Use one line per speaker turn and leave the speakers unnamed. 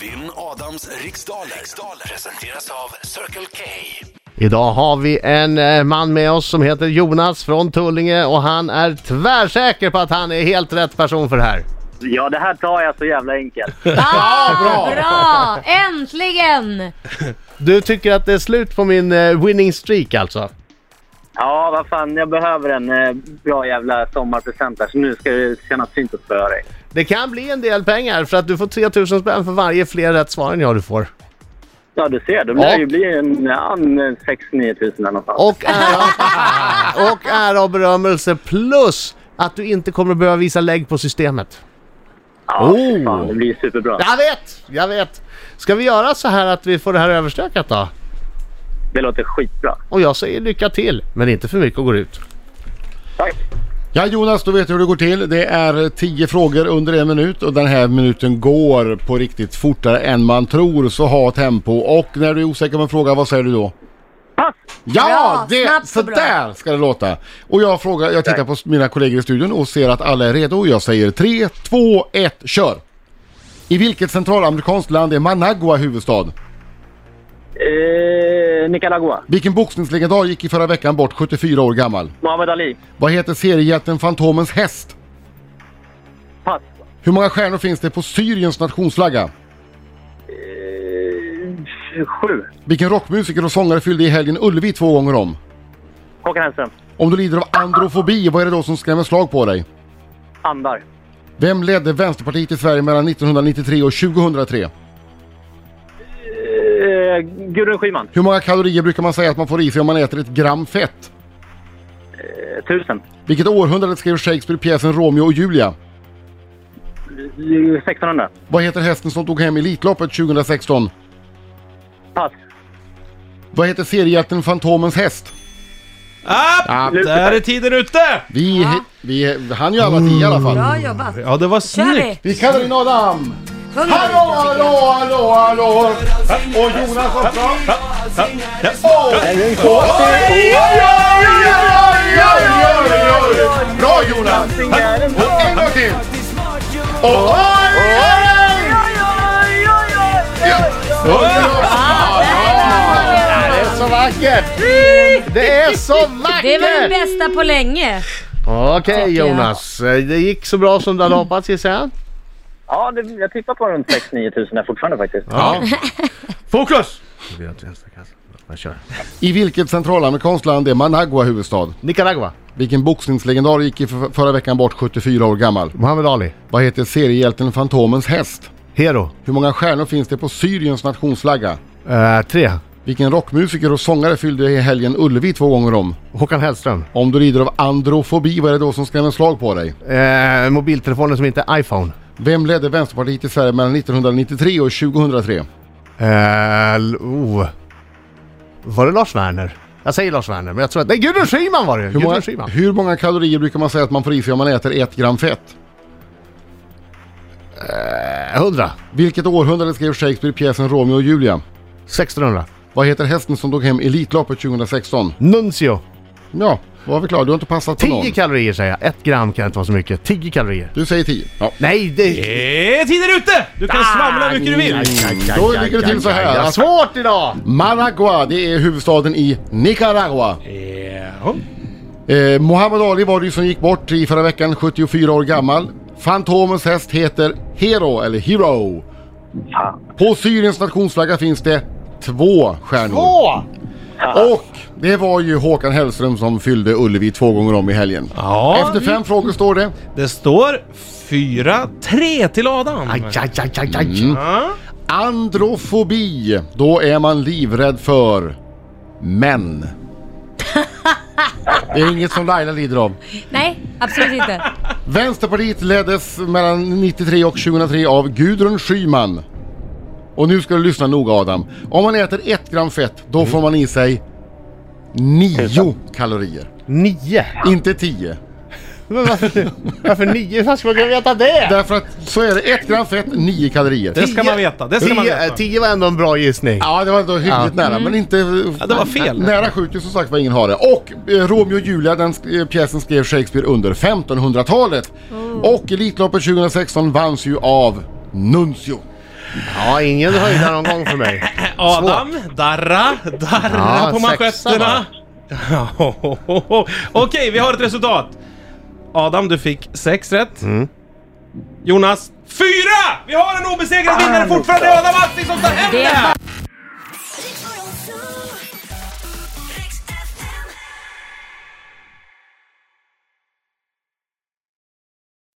Vinn Adams riksdaler. riksdaler presenteras av Circle K.
Idag har vi en eh, man med oss som heter Jonas från Tullinge och han är tvärsäker på att han är helt rätt person för det här.
Ja, det här tar jag så jävla enkelt.
Ah, bra. Äntligen!
Du tycker att det är slut på min eh, winning streak alltså?
Ja, vad fan, jag behöver en eh, bra jävla sommarpresent här, så nu ska det kännas fint att spöa dig.
Det kan bli en del pengar för att du får 3000 spänn för varje fler rätt svar än jag du får.
Ja, du ser, då lär
Ja.
det ju bli en, en 6-9 tusen eller något sånt.
Och ära, och ära och berömmelse plus att du inte kommer behöva visa lägg på systemet.
Ja, fy
Oh.
fan, det blir superbra.
Jag vet, jag vet. Ska vi göra så här att vi får det här överstökat då?
Det låter skitbra.
Och jag säger lycka till, men inte för mycket och går ut.
Tack!
Ja Jonas, du vet hur det går till. Det är 10 frågor under en minut och den här minuten går på riktigt fortare än man tror. Så ha tempo och när du är osäker på en fråga, vad säger du då?
Pass!
Ja,
Bra,
det,
snabbt
så
och bra.
där ska det låta. Och jag frågar, jag tittar på mina kollegor i studion och ser att alla är redo. Jag säger 3, 2, 1, kör! I vilket centralamerikanskt land är Managua huvudstad?
Eh, Nicaragua.
Vilken boxningslegendar gick i förra veckan bort 74 år gammal?
Muhammad Ali.
Vad heter seriehjälten Fantomens häst?
Pass.
Hur många stjärnor finns det på Syriens nationsflagga?
Eh, sju.
Vilken rockmusiker och sångare fyllde i helgen Ullevi två gånger om?
Håkan Hellström.
Om du lider av androfobi, vad är det då som skrämmer slag på dig?
Andar.
Vem ledde Vänsterpartiet i Sverige mellan 1993 och 2003?
Eh, Gudrun Schyman.
Hur många kalorier brukar man säga att man får i sig om man äter ett gram fett?
Eh, tusen.
Vilket århundrade skrev Shakespeare pjäsen Romeo och Julia?
Eh, 1600.
Vad heter hästen som tog hem Elitloppet 2016?
Pass.
Vad heter seriehjälten Fantomens häst?
Ah,
Lucifer.
där är tiden ute!
Vi, vi han ju alla tio i alla fall.
Bra jobbat.
Ja, det var
Kör
snyggt!
vi!
Vi kallar in Adam!
Sjung
Hallå, hallå, hallå, hallå! Och Jonas också! Och- Oj, oj, oj, oj, oj, oj, oj. Bra Jonas! Och en gång till! Och oj, oj, oj! Ja. Oj, oj, oj.
Det är så vackert! Det är så vackert!
Det var den bästa på länge.
Okej
Tycker jag.
Jonas, Eh, det gick så bra som du hade hoppats gissar jag?
Ja, det, jag tippar på runt 6-9 tusen här fortfarande faktiskt.
Ja.
Fokus!
Jag kör.
I vilket centralamerikanskt land är Managua huvudstad?
Nicaragua,
Vilken boxningslegendar gick i för- förra veckan bort 74 år gammal?
Muhammad Ali,
Vad heter seriehjälten Fantomens häst?
Hero,
Hur många stjärnor finns det på Syriens nationsflagga?
eh, 3.
Vilken rockmusiker och sångare fyllde i helgen Ullevi två gånger om?
Håkan Hellström,
Om du lider av androfobi, vad är det då som skrämmer slag på dig?
eh, mobiltelefonen som inte är iPhone,
Vem ledde Vänsterpartiet i Sverige mellan 1993 och 2003?
eh, l- oh. var det Lars Werner? Jag säger Lars Werner, men jag tror att... Nej, Gudrun Schyman var det!
Hur många,
Gudrun Schyman.
hur många kalorier brukar man säga att man får i sig om man äter ett gram fett?
Eh, 100,
Vilket århundrade skrev Shakespeare pjäsen Romeo och Julia?
1600,
Vad heter hästen som tog hem Elitloppet 2016?
Nuncio,
Ja, då var vi klara. Du har inte passat på
10
någon.
kalorier säger jag. 1 gram kan inte vara så mycket. 10 kalorier.
Du säger 10. Ja.
Nej, det...
Det är tiden ute! Du kan svamla hur mycket du vill!
Då ligger det till så här.
Ja, svårt idag!
Managua, det är huvudstaden i Nicaragua.
Ja.
Eh, Muhammad Ali var det ju som gick bort i förra veckan, 74 år gammal. Fantomens häst heter Hero, eller Hero. På Syriens nationsflagga finns det två stjärnor.
Åh!
Och det var ju Håkan Hellström som fyllde Ullevi två gånger om i helgen.
Ja,
Efter fem frågor står det.
Det står 4-3 till Adam.
Aj, aj, aj, aj, aj.
Ja.
Androfobi, då är man livrädd för män. Det är inget som Laila lider av.
Nej, absolut inte.
Vänsterpartiet leddes mellan 93 och 2003 av Gudrun Schyman. Och nu ska du lyssna noga Adam. Om man äter ett gram fett, då får man i sig nio kalorier.
Nio?
Inte tio.
Men varför, varför nio? Hur fan ska man kunna veta det?
Därför att så är det, ett gram fett, nio kalorier.
Det ska man veta, det ska man
Tio, eh,
veta.
tio var ändå en bra gissning.
Ja, det var ändå hyggligt nära, men inte...
Ja, det var fel.
Nära skjuter som sagt var ingen har det. Och eh, Romeo och Julia, den sk- eh, pjäsen skrev Shakespeare under 1500-talet. Och Elitloppet 2016 vanns ju av Nuncio.
Ja, ingen höjdare någon gång för mig.
Adam, darra, darra
Ja,
på
sexa
manschetterna.
va?
Okej, vi har ett resultat. Adam, du fick sex rätt.
Mm.
Jonas, fyra! Vi har en obesegrad vinnare fortfarande. Adam Alsing som tar hem
Det
det!
är
här!